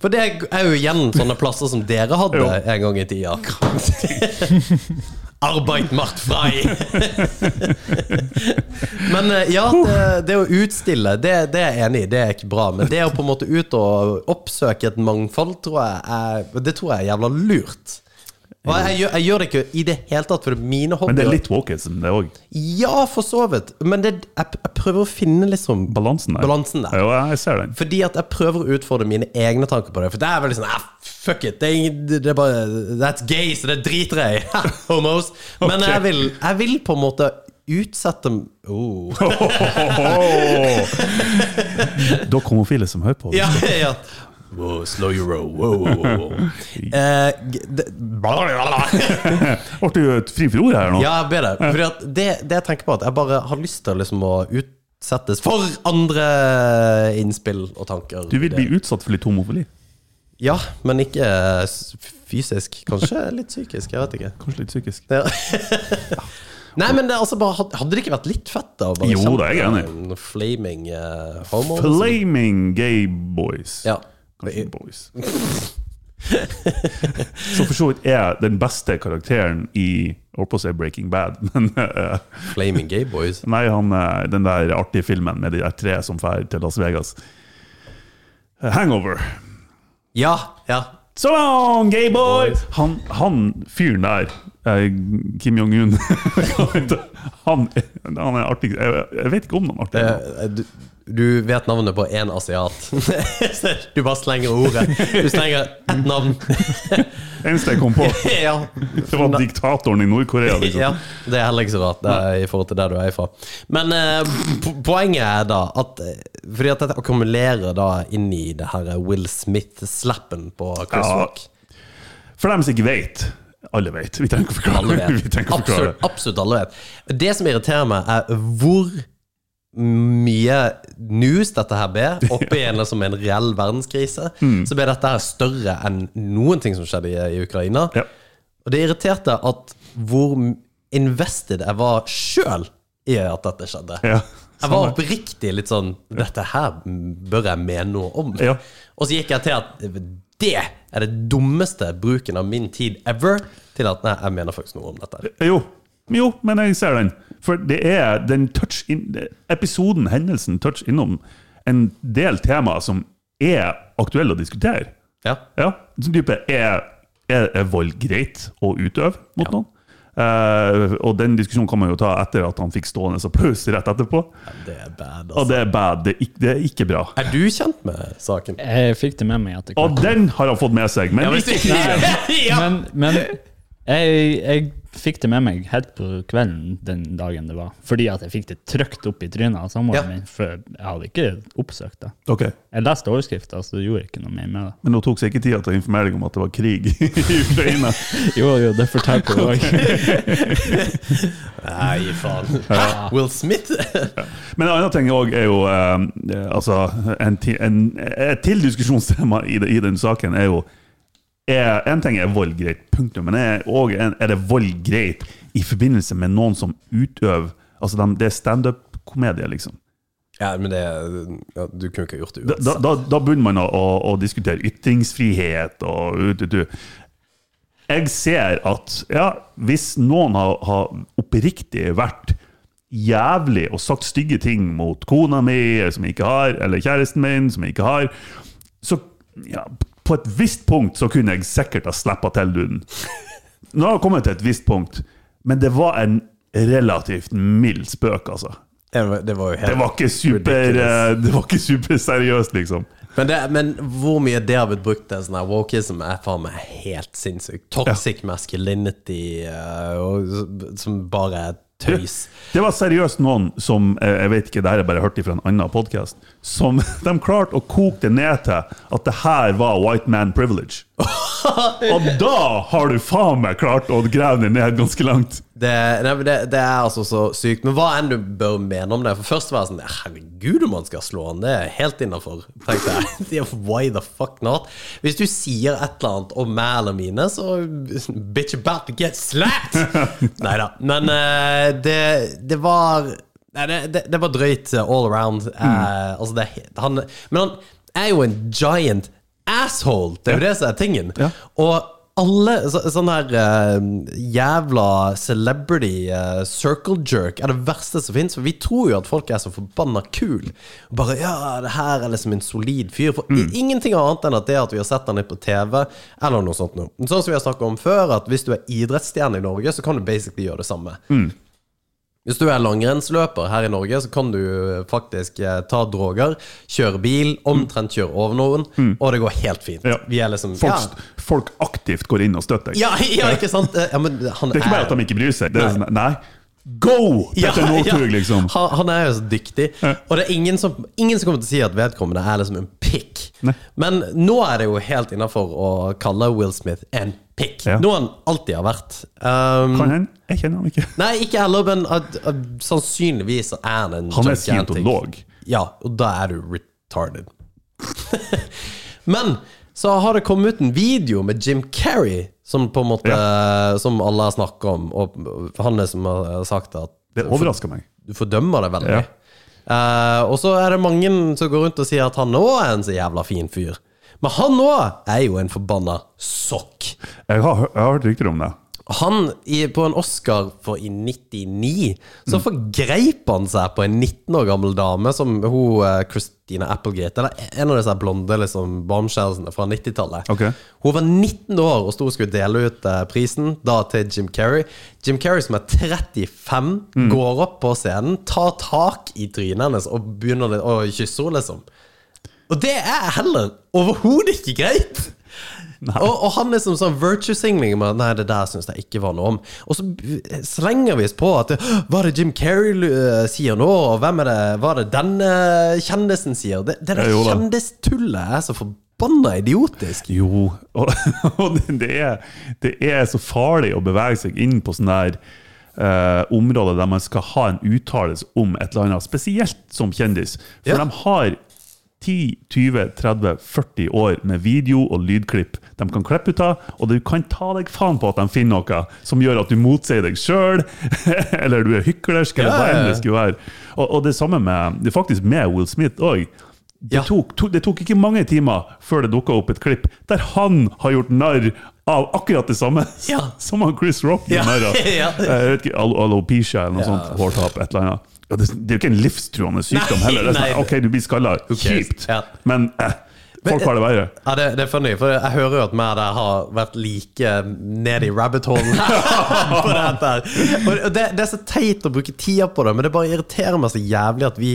For det er jo igjen sånne plasser som dere hadde
Jo.
en gang i tida. (laughs) Arbeid macht frei! men eh, ja, det, det å utstille, det, det er jeg enig i, det er ikke bra. Men det å på en måte ut og oppsøke et mangfold, tror jeg er, det tror jeg er jævla lurt. Og jeg, gjør, jeg gjør det ikke i det hele tatt, for mine hobbyer
Men det er litt wokeism, det òg.
Ja, for så vidt. Men det, jeg, jeg prøver å finne liksom
Balansen der.
Balansen der.
Jo, jeg ser
(laughs)
den. (laughs)
Fordi at jeg prøver å utfordre mine egne tanker på det. For det er veldig sånn ah, Fuck it! Det er, ingen- det er bare That's gay, så det driter jeg i! (laughs) Ha, Homos! Men
Ok.
jeg, vil, jeg vil på en måte utsette oh.
Dere homofile som hører på. (laughs)
Ja, ja. Wow, slow your roll. Wow, wow, wow, wow. (laughs) Eh, g- det-
(laughs)
blablabla.
Ble du et fri for ord her nå?
Ja, jeg ber deg. Fordi at det, det jeg tenker på, er at jeg bare har lyst til liksom å utsettes for andre innspill og tanker.
Du vil bli utsatt for litt homofili?
Ja, men ikke eh, s- fysisk. Kanskje litt psykisk. Jeg vet ikke.
Kanskje litt psykisk?
Ja. (laughs) Nei, men det, er altså bare, had- hadde det ikke vært litt fett, da? å Bare
Jo,
kjempe
det er jeg enig i.
en Flaming eh, homo?
Flaming gay boys.
Ja.
Kanskje boys. Som for så vidt er den beste karakteren i jeg holdt på å si Breaking Bad, (laughs) men eh,
Flaming gay boys.
Nei, han, eh, den der artige filmen med de der tre som drar til Las Vegas. Eh, Hangover.
Ja, ja.
So long, gay boy! Han, han fyren der, eh, Kim Jong-un (laughs) Hva heter han, han er artig. Jeg, jeg vet ikke om han er artig.
Eh, Du, du vet navnet på én asiat. (laughs) Så du bare slenger ordet. Du slenger ett navn. (laughs)
Eneste jeg kom på,
ja.
det var diktatoren i
(laughs)
Nord-Korea. Liksom.
ja. Det er heller ikke så rart det er i forhold til der du er ifra. Men eh, po- poenget er da at eh, Fordi at dette akkumulerer da inn i det her Will Smith-slappen på Chris
Ja.
Rock.
For dem som ikke vet. Alle vet. Vi trenger ikke å forklare.
Alle
(laughs) Vi
vet.
trenger ikke å forklare.
Absolutt, absolutt alle vet. Det som irriterer meg, er hvor mye news dette her
(laughs)
ble. Oppi en, liksom, en reell verdenskrise
Mm.
så ble dette her større enn noen ting som skjedde i, i Ukraina.
Ja.
Og det irriterte at hvor invested jeg var sjøl i at dette skjedde.
Ja.
Jeg var oppriktig litt sånn Dette her bør jeg mene noe om.
Ja.
Og så gikk jeg til at det er det dummeste bruken av min tid ever. Til at nei, jeg mener faktisk noe om dette.
Jo. jo, men jeg ser den. For det er den touch in, episoden, hendelsen, touch innom en del temaer som er aktuelle å diskutere.
Ja.
Ja, sånn type er, er, er vold greit å utøve mot noen? Eh, og den diskusjonen kan man jo ta etter at han fikk stående applaus rett etterpå.
Det er bad, altså.
Og det er bad. Det er ikke, det er ikke bra.
Er du kjent med saken?
Jeg fikk det med meg etter hvert.
Og den har han fått med seg, men hvis ikke
(laughs) ja.
Men, men jeg, jeg fikk det med meg helt på kvelden den dagen det var. Fordi at jeg fikk det trykt opp i trynet av
Ja.
samboeren min. For jeg hadde ikke oppsøkt det.
Ok,
Jeg leste overskrifta, så det gjorde ikke noe mer med det.
Men nå tok seg ikke tida til å informere deg om at det var krig (laughs) i Ukraina.
Jo, jo, det fortalte jeg òg.
Nei, faen. Hæ? Will Smith?
Men en annen ting også er jo eh, altså, en, ti- en, Et til diskusjonstema i, det- i den saken er jo er, En ting er vold greit, punktum. Men er, og en, er det vold greit i forbindelse med noen som utøver altså dem- Det er standup-komedie, liksom.
Ja, men det ja, Du kunne ikke gjort det
Da, da,
uansett.
da, da begynner man å, å, å diskutere ytringsfrihet og ut, ut, ut. Jeg ser at ja, hvis noen har, har oppriktig vært jævlig og sagt stygge ting mot kona mi, som jeg ikke har, eller kjæresten min, som jeg ikke har, så ja, på et visst punkt så kunne jeg sikkert ha slappa til duden. Nå har jeg kommet til et visst punkt, men det var en relativt mild spøk, altså.
Det var- Det var jo
Det
helt
var ikke super, eh, det var ikke superseriøst, liksom.
Men, det, men hvor mye det har blitt brukt til sånn her wokeism, er faen meg helt sinnssykt. Toxic masculinity eh, og, som bare er tøys.
Det var seriøst noen som eh, jeg vet ikke, det her er bare hørt fra en
(laughs)
annen (laughs) podkast, som de klarte å koke det ned til at det her var white man privilege. Og da har du faen meg klart å grave deg ned ganske langt.
Det, nei, men det, det er altså så sykt. Men hva enn du bør mene om det. For først var jeg sånn Herregud, om han skal slå han, det er helt innafor. Tenkte jeg. (laughs) Det er Why the fuck not? Hvis du sier et eller annet om meg eller mine, så bitch about to get slapped!
(laughs)
Nei da. Men eh, det, det var Nei, det, det, det var drøyt eh, all around. Eh,
Hmm.
altså det, han, men han er jo en giant asshole! Det er jo det som er tingen.
Ja.
Og alle så, sånne her eh, jævla celebrity eh, circle jerk er det verste som fins. For vi tror jo at folk er så forbanna kul Bare ja, det her er liksom en solid fyr. For
Mm.
i- ingenting annet enn at det at vi har sett han litt på TV, eller noe sånt noe. Sånn som vi har snakket om før, at hvis du er idrettsstjerne i Norge, så kan du basically gjøre det samme.
Mm.
Hvis du er langrennsløper her i Norge, så kan du faktisk eh, ta droger, kjøre bil, omtrent kjøre over noen, og det går helt fint.
Mm. Ja.
Vi er liksom
Folk,
ja.
folk aktivt går inn og støtter deg.
Ja, ja, ikke sant? Eh, Ja, men han
Det er ikke bare at de ikke bryr seg. Det er sånn, nei, go!
Ja,
Petter Northug,
ja.
liksom.
Han, han er jo så dyktig.
Ja.
Og det er ingen som, ingen som kommer til å si at vedkommende er liksom en pikk.
Nei.
Men nå er det jo helt innafor å kalle Will Smith en pikk.
Ja.
Noe han alltid har vært. Um,
Kan hende. Jeg kjenner han ikke.
nei, ikke heller, men at, at, sannsynligvis er han en
Han er
gigantic-
scientolog.
Ja, og da er du retarded. (laughs) Men så har det kommet ut en video med Jim Carrey, som på en måte Som alle har snakket om, og han er som har sagt at
Det overrasker meg.
du fordømmer det veldig.
Ja.
Eh, og så er det mange som går rundt og sier at han òg er en så jævla fin fyr. Men han òg er jo en forbanna sokk.
Jeg har, jeg har hørt rykter om det.
Han, i, på en Oscar for i 99, så forgreip han seg på en 19 år gammel dame som hun, eh, Christina Applegate, eller en av disse blonde liksom, bombshellsene fra 90-tallet.
Ok.
Hun var 19 år og sto og skulle dele ut eh, prisen, da til Jim Carrey. Jim Carrey, som er 35, går opp på scenen, tar tak i trynet hennes og begynner å å kysse henne, liksom. Og det er heller overhodet ikke greit! Og, og han er som sånn virtue-singling med at, Nei, det der syns jeg ikke var noe om. Og så b- slenger vi oss på at «Hå, Hva er det Jim Carrey eh, sier nå? Og hvem er det Hva er det denne kjendisen sier? Det, det der
Ja, jo da.
kjendistullet er så forbanna idiotisk.
Jo, og, (laughs) og det- det, er, det er så farlig å bevege seg inn på sånne her eh, områder der man skal ha en uttalelse om et eller annet, spesielt som kjendis. For
Ja.
de har 10, 20, 30, 40 år med video og lydklipp de kan klippe ut av, og du kan ta deg faen på at de finner noe som gjør at du motsier deg sjøl, (laughs) eller du er hyklersk, eller
Ja,
hva
ja, ja.
enn det skulle være. Og, og det samme med, det er faktisk med Will Smith òg. Det,
Ja.
tok, to, det tok ikke mange timer før det dukka opp et klipp der han har gjort narr av akkurat det samme (laughs)
Ja.
som han Chris Rock gjorde
Ja,
narr av.
(laughs) ja.
Jeg vet ikke, al- Alopecia eller noe
Ja.
sånt. Hårtap, et eller annet. Ja, det, det er jo ikke en livstruende sykdom
Nei,
heller. Det er sånn,
nei.
ok, du blir skalla.
cares?
Kjipt.
Ja.
Men eh, folk har det verre.
Ja, det, det er funny, for jeg hører jo at meg der har vært like ned i rabbit holen (laughs) på dette her. Og det, det er så teit å bruke tida på det, men det bare irriterer meg så jævlig at vi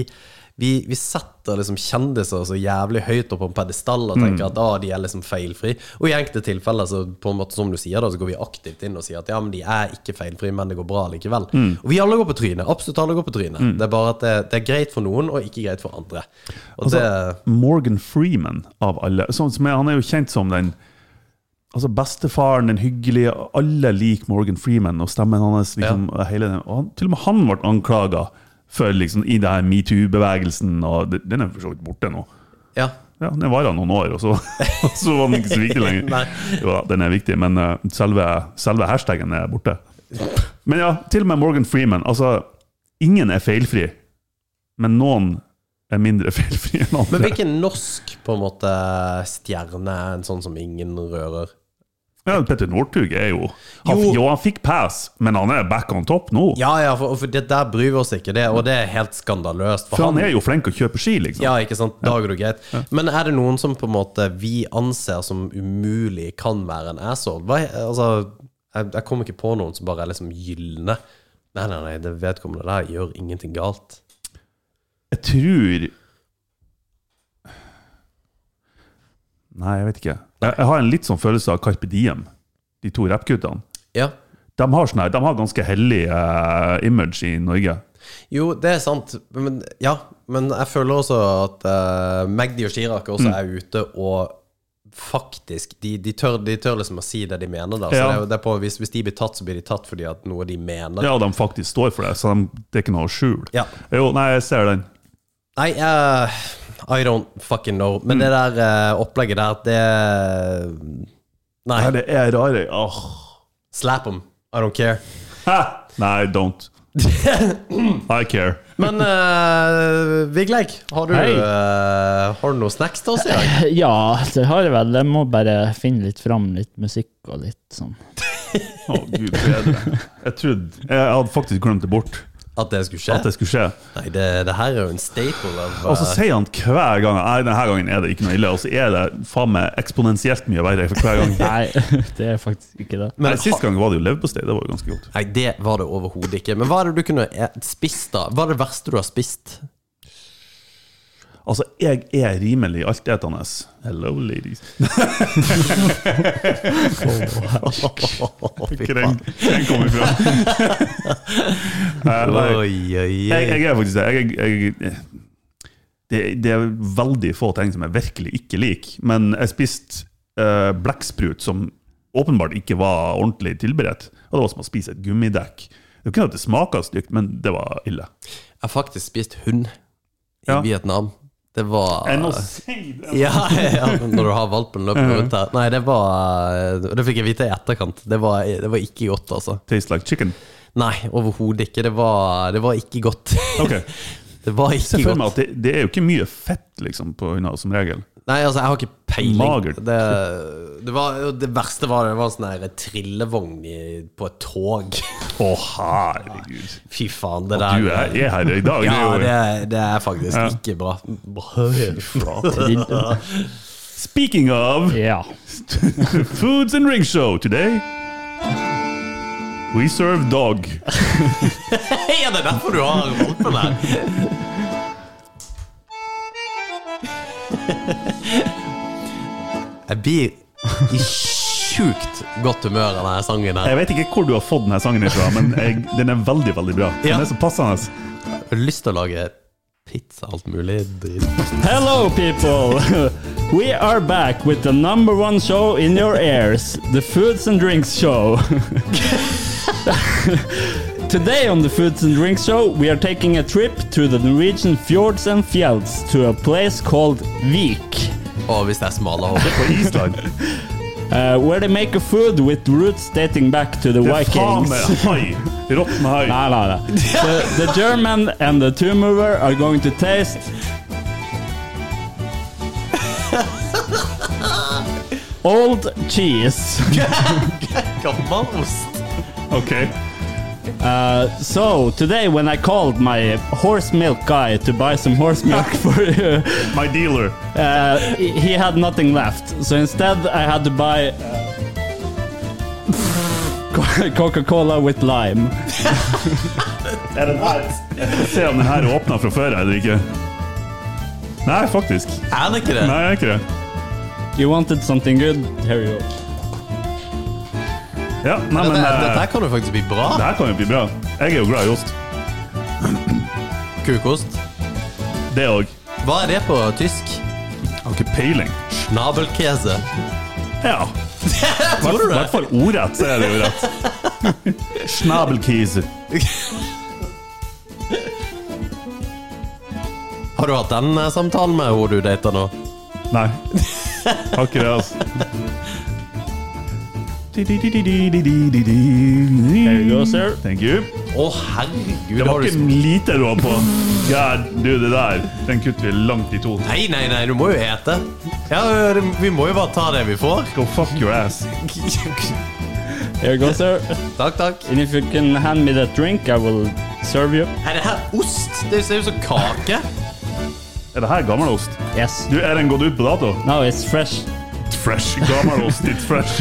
vi, vi setter liksom kjendiser så jævlig høyt opp på en pedestall og tenker at ah, de er liksom feilfri. Og i enkelte tilfeller, så på en måte som du sier da, så går vi aktivt inn og sier at ja, men de er ikke feilfri, men det går bra likevel. Og vi alle går på trynet. Absolutt alle går på trynet. Det er bare at det, det er greit for noen, og ikke greit for andre. Og det
Morgan Freeman, av alle. Sånn som er, han er jo kjent som den altså bestefaren, den hyggelige Alle liker Morgan Freeman og stemmen hans. Liksom, hele den, og han, til og med han ble anklaga for liksom, i det her metoo-bevegelsen, og det- den er for så vidt borte nå.
Ja.
Ja, Den varer noen år, og så, (laughs) og så var den ikke så viktig lenger.
Nei.
Jo da, den er viktig, men eh, selve, selve hashtagen er borte. Men ja, til og med Morgan Freeman. Altså, ingen er feilfri, men noen er mindre (laughs) feilfri enn
Men
andre.
hvilken norsk på en måte stjerne er en sånn som ingen rører?
Ja, Petter Northug er jo han,
Jo.
jo. han fikk pass, men han er back on top nå.
Ja, ja, for, for det der bryr vi oss ikke, det, og det er helt skandaløst.
For han er jo flink å kjøpe ski, liksom.
Ja, ikke sant? Da går det greit. Men er det noen som på en måte vi anser som umulig kan være en asshole? Hva, altså, jeg, jeg kommer ikke på noen som bare er liksom gylne. Nei, nei, nei, det vedkommende der gjør ingenting galt.
Jeg tror Nei, jeg vet ikke. Jeg, jeg har en litt sånn følelse av Carpe Diem, de to rappguttene.
Ja.
De har, sånn her, de har ganske hellig eh, image i Norge.
Jo, det er sant. Men,
Mm.
ja, men jeg føler også at eh, Magdi og Chirag også er ute og faktisk De, de, tør, de tør liksom å si det de mener, da. Så
Ja.
det er jo- det er på, hvis, hvis de blir tatt, så blir de tatt fordi at noe de mener.
Ja, de faktisk står for det, så de, det er ikke noe å skjule.
Ja.
Jo, nei, jeg ser den.
Nei, eh, I don't fucking know.
Mm.
Men det der eh, opplegget der, det Nei.
Nei, det er rare. Åh.
Slap them. I don't care.
Hæ? Nei,
(laughs)
don't. I care.
Men uh, Vigleik, har du,
Hei.
eh, har du noe snacks til oss i dag?
(laughs) Ja, det har jeg vel. Jeg må bare finne litt fram litt musikk og litt sånn.
Å, gud bedre. Jeg trodde Jeg hadde faktisk glemt det bort,
At det skulle
at
skje?
det skulle skje.
Nei, det, det her er jo en staple av eh,
Og så sier han hver gang Nei, denne gangen er det ikke noe ille, og så er det faen meg eksponentielt mye verre for
(laughs)
hver gang.
Nei, (laughs) det er faktisk ikke det.
Nei, Sist gang var det jo leverpostei. Det var jo ganske godt.
Nei, det var det overhodet ikke. Men hva er det du kunne eh, spist, da? Hva er det verste du har
(laughs)
spist?
Altså, jeg er rimelig altetende. Hello, ladies.
Fy
Hvor den
faen.
den kom ifra. Eh,
Oi,
nei,
oi,
jeg,
oi.
jeg er faktisk det. Jeg, jeg, det. Det er veldig få ting som jeg virkelig ikke liker. Men jeg spiste eh, blekksprut som åpenbart ikke var ordentlig tilberedt. Og det var som å spise et gummidekk. Det er jo ikke at det smaker stygt, men det var ille.
Jeg har faktisk spist hund i
Ja.
Vietnam. Det var
Enn å si det.
(laughs) ja, ja, når du har valpen løpende rundt der. Nei, det var eh, Det fikk jeg vite i etterkant. Det var, eh, det var ikke godt, altså.
Tastes like chicken.
Nei, overhodet ikke. Det var, det var ikke godt.
Ok.
(laughs) Det var
Se
ikke
for meg
godt.
at det, det er jo ikke mye fett liksom, på hunder, som regel.
Nei, altså, jeg har ikke peiling.
Magert.
Det, det, var, det verste var det var en sånn her trillevogn i, på et tog. (laughs)
Å, herregud.
Fy faen, det der
Du er, er her i
Ja,
dag. det
det,
er jo,
er- det er faktisk
Ja.
ikke bra. (laughs) øh,
speaking of
Ja.
Foods and Ring Show today. We serve dog.
Hei, er det derfor du har valpen her? Jeg blir i sjukt godt humør av denne sangen her.
Jeg vet ikke hvor du har fått denne sangen ifra, men jeg, den er veldig, veldig bra. Den
Ja.
er så passende.
Jeg har lyst til å lage pizza alt mulig dritt.
Hello, people! (laughs) We are back with the number one show in your ears, the Foods and Drinks Show. (laughs) Today on the Foods and Drinks Show, we are taking a trip to the Norwegian fjords and fjells to a place called Vik.
Og hvis det er smale hår.
På Island.
Uh, where they make a food with roots dating back to the
Det er faen
Vikings.
meg hai. Råtten hai.
Nei, nei, nei. The, the German and the two mover are going to taste Old cheese.
Gammel ost.
Ok.
Uh, so today, when I called my horse milk guy to buy some horse milk for you,
My dealer.
uh, he he had nothing left. So instead, I had to buy uh, (laughs) Coca Cola with lime.
Er den her? Jeg skal se om den her er åpna fra før eller ikke. Nei, faktisk.
Er det ikke det?
Nei, jeg er ikke det.
You wanted something good? Here you go.
Ja, nei, men
Dette, dette
eh,
her kan jo faktisk bli
det
bra.
her kan jo bli bra. Jeg er jo glad i ost.
Kukost.
Det òg.
Hva er det på tysk?
Har ikke peiling.
Nabelkese.
Ja.
(laughs) Tror du
I hvert
det?
fall ordrett, så er det jo rett.
(laughs)
Schnabelkiese.
Har du hatt den eh, samtalen med hun du dater nå?
Nei. Har ikke det, altså. There
you go, sir.
Thank you.
Å, herregud.
Det
har
var
du
ikke lite du var på. God, du, det der. Den kutter vi langt i to.
Nei, nei, nei, du må jo ete. Ja, eh, det- Vi må jo bare ta det vi (laughs) får.
Go fuck your ass.
Here you go, sir.
Takk, takk.
And if you can hand me that drink, I will serve you.
Er det her ost? Det ser ut som kake.
Er det her gammelost?
Yes.
Du, Er den gått ut på dato?
No, it's fresh.
It's fresh. Gammelost, it's fresh.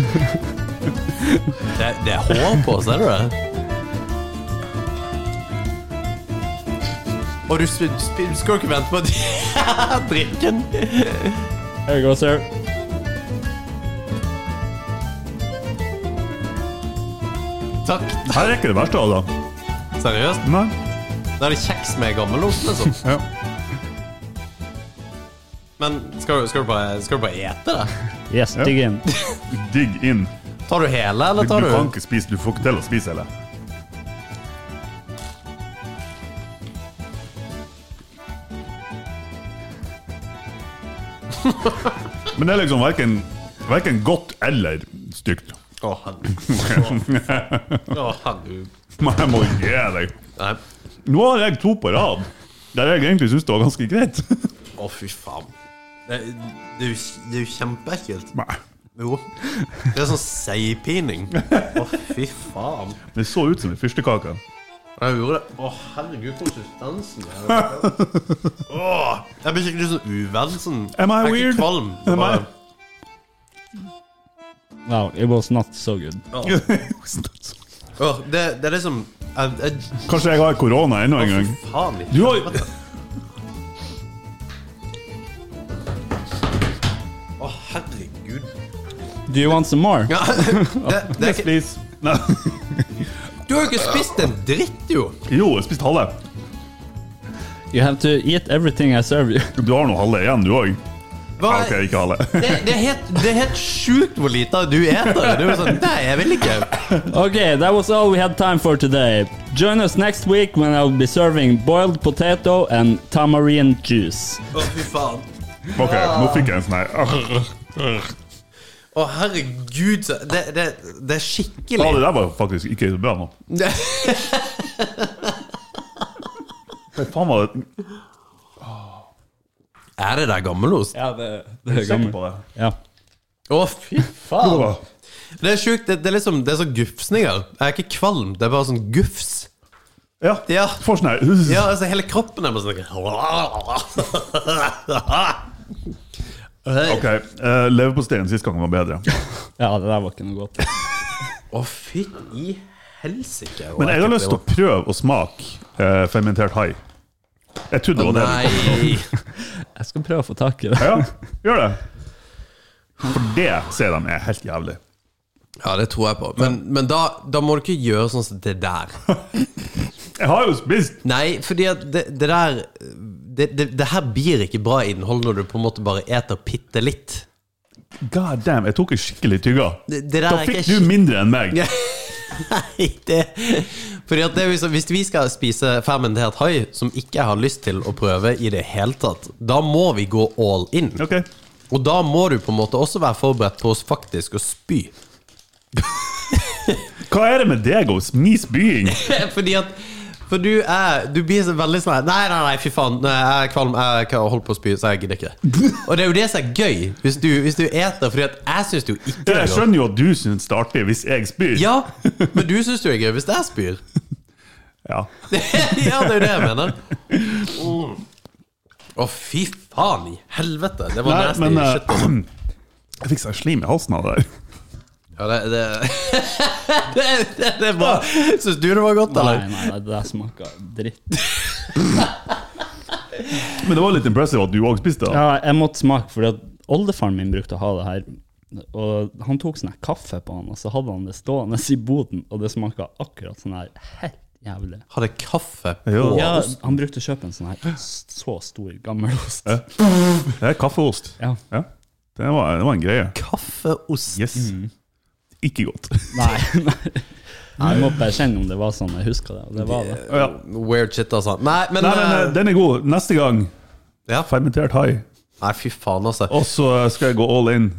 Det, det er hår på, ser du det? Og du sp- sp- skal jo ikke vente på (laughs) at- drikken.
Here you go, sir.
Takk.
Her er ikke det verste av det.
Seriøst?
Nei.
Da er det kjeks med gammelost, liksom.
Ja.
Men skal du, skal du, bare, skal du bare ete det?
Yes, digg inn.
Digg inn.
Tar du hele,
Du,
eller
du
tar du
kan ikke spise, du får ikke til å spise
(laughs)
hele. Men det er liksom verken, verken godt eller stygt.
(laughs) Å, (laughs) herregud.
Men jeg må gi deg.
Nei.
Nå har jeg to på rad der jeg egentlig syns det var ganske greit.
Å, fy faen. Det, det, er jo, det er jo kjempeekkelt.
Nei.
Jo. Det er sånn seigpining. Å, fy faen.
Det så ut som en fyrstekake.
Jeg gjorde det. Å, herregud, (laughs) konsistensen er Åh, Jeg blir skikkelig sånn uvel. Sånn.
Am I
jeg er ikke
weird?
Kvalm. Det er
Am I-
bare-
(laughs) Wow, it was not so good.
Åh, det, det er liksom jeg, jeg,
Kanskje jeg har korona ennå en gang.
Fy faen. i
Du har-
(laughs) helvete. Å, (laughs) herregud.
Do you want some more?
Ja, det, det er
Yes,
ikke,
please. Nei.
du har jo ikke spist en dritt, jo!
Jo, jeg spiste halve.
You have to eat everything I serve (laughs) you.
Du har nå halve igjen, du òg.
Hva,
Ok, ikke halve.
det, det, er helt, det er helt sjukt hvor lite du eter. Det er jo sånn, Nei, jeg vil ikke.
Okay, that was all we had time for today. Join us next week when I'll be serving boiled potato and tamarind juice.
Å, fy faen.
(laughs) Ok, nå fikk jeg en sånn her. Ah,
Å, herregud. så- Det, det, det er skikkelig.
det der var faktisk ikke så bra nå.
Det,
Hva faen var det?
er det der gammelost? Å,
Ja, det,
Jeg er sikker på det.
Ja.
fy
Det
faen.
var-
Det er sjukt. Det, det er liksom, det er sånn gufsninger. Jeg er ikke kvalm, det er bare sånn gufs.
Ja.
Ja.
Får sånn her. (laughs)
Ja, altså hele kroppen er bare sånn
Ok, uh, leverposteien sist gang var bedre.
ja, det der var ikke noe godt.
Å, fy i helsike.
Men jeg har lyst til å prøve å smake eh, fermentert hai. Jeg trodde det var det.
Nei.
Jeg skal prøve å få tak i det.
Ja, gjør det. For det ser de er helt jævlig.
Ja, det tror jeg på. Men, men da, da må du ikke gjøre sånn som det der.
Jeg har jo spist!
Nei, fordi at det, det der det, det, det her blir ikke bra innhold når du på en måte bare eter bitte litt.
God damn, jeg tok en skikkelig tygga.
Det, det der
Da
er
fikk
ikke
du mindre enn meg.
Nei, det Fordi at det, er jo så- Hvis vi skal spise fermentert hai, som ikke jeg har lyst til å prøve i det hele tatt, da må vi gå all in.
Ok,
Og da må du på en måte også være forberedt på oss faktisk å spy.
Hva er det med deg og mis bying?
(laughs) Fordi at For du er Du blir så veldig sånn her, Nei, nei, nei, fy faen. nei, Jeg er kvalm. Jeg har holdt på å spy, så jeg
(laughs)
gidder ikke. Og det er jo det som er gøy, hvis du, hvis du eter. Fordi at jeg syns jo ikke det
Jeg
er gøy.
skjønner jo at du syns det er artig hvis jeg spyr.
Ja, men du syns jo det er gøy hvis jeg spyr. (laughs)
Ja.
ja, det er jo det jeg mener. Mm. Å, fy faen i helvete! Det var
Nei,
nasty
men eh,
shit. altså.
(clears throat) Jeg fikk sånn slim i halsen av det der.
Ja, det, det, det, (laughs) det, det er bra. Syns du det var godt,
Nei,
eller?
nei, det der smaker dritt.
(laughs) Men det var litt impressive at du òg spiste det.
Ja, jeg måtte smake, fordi at oldefaren min brukte å ha det her. Og han tok sånn her kaffe på han, og så hadde han det stående i boden, og det smaka akkurat sånn her helt jævlig.
Hadde kaffe på
Jo.
Ja, han brukte å kjøpe en sånn her så stor gammelost.
Det er kaffeost.
Ja.
Ja. Det, var, det var en greie.
kaffeost.
Yes. Ikke godt. (laughs)
Nei, nei. Jeg måtte bare kjenne om det var sånn jeg huska det, og det var det.
Ja.
Weird shit, altså. Nei, men,
Nei, men eh,
eh,
den er god. Neste gang
Ja.
fermentert hai.
Nei, fy faen, altså.
Og så eh, skal jeg gå all in.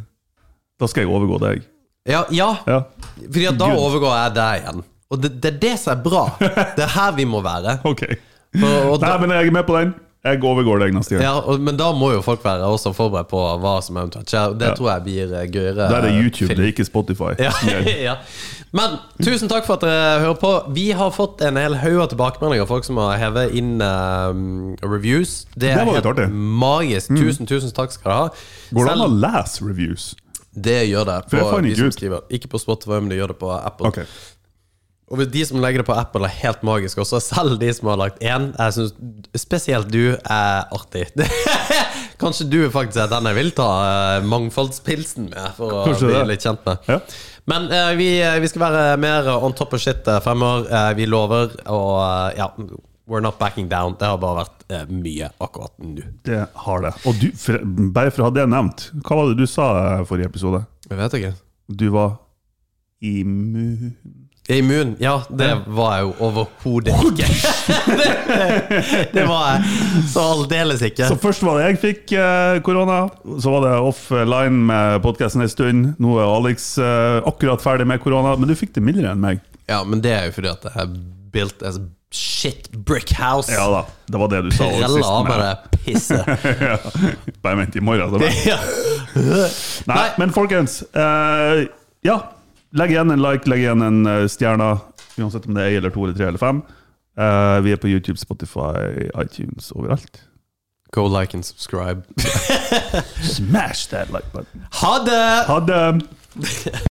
Da skal jeg overgå deg.
Ja, ja
Ja.
fordi at da
Gud.
overgår jeg deg igjen. Og det, det er det som er bra. Det er her vi må være.
Ok.
For, og
Nei,
da,
men jeg er med på den. Jeg overgår deg neste gang.
ja, og, men da må jo folk være også forberedt på hva som eventuelt skjer. Det tror jeg blir eh, gøyere.
Da er det YouTube,
film.
det er ikke Spotify.
Ja, (laughs)
Ok.
ja. Men tusen takk for at dere hører på. Vi har fått en hel haug av tilbakemeldinger. Folk som har hevet inn eh, reviews. Det er
Det var litt
helt
artig. Mm.
magisk. Tusen, tusen takk skal dere ha.
Går det an å
Selv-
lese reviews?
det gjør det.
For jeg
På
fant
de
ikke
som
ut.
skriver. Ikke på Spotify, men det gjør det på Apple.
Ok.
Og hvis de som legger det på Apple, er helt magiske også. Selv de som har lagt én. Jeg synes spesielt du er artig. (laughs) Kanskje du faktisk er den jeg vil ta eh, mangfoldspilsen med, for å
Kanskje
bli
det.
litt kjent med.
Ja.
Men eh, vi, vi skal være mer on top of shit eh, fremover. Eh, vi lover, og eh, ja We're not backing down. Det har bare vært eh, mye akkurat nå.
Det har det. Og du, for, bare for å ha det nevnt, hva var det du sa eh, forrige episode?
Jeg vet ikke.
Du var immun
Immun? Ja, det var jeg jo overhodet ikke. (laughs) det, det var jeg så aldeles ikke.
Så først var det jeg fikk eh, korona, så var det offline med podkasten en stund. Nå er Alex eh, akkurat ferdig med korona, men du fikk det mildere enn meg.
Ja, men det er jo fordi at jeg built as shit brick house.
Ja da, det var det du sa. også
Prella av
sist
med
med-
det pisset.
(laughs) ja. Bare vent i morgen.
(laughs)
Så bare.
Ja.
Nei, men folkens. eh, ja, legg igjen en like, legg igjen en eh, stjerne. Uansett om det er ei eller to eller tre eller fem. Eh, vi er på YouTube, Spotify, iTunes, overalt.
Go like and subscribe.
Smash that like button.
Ha det!
Ha det!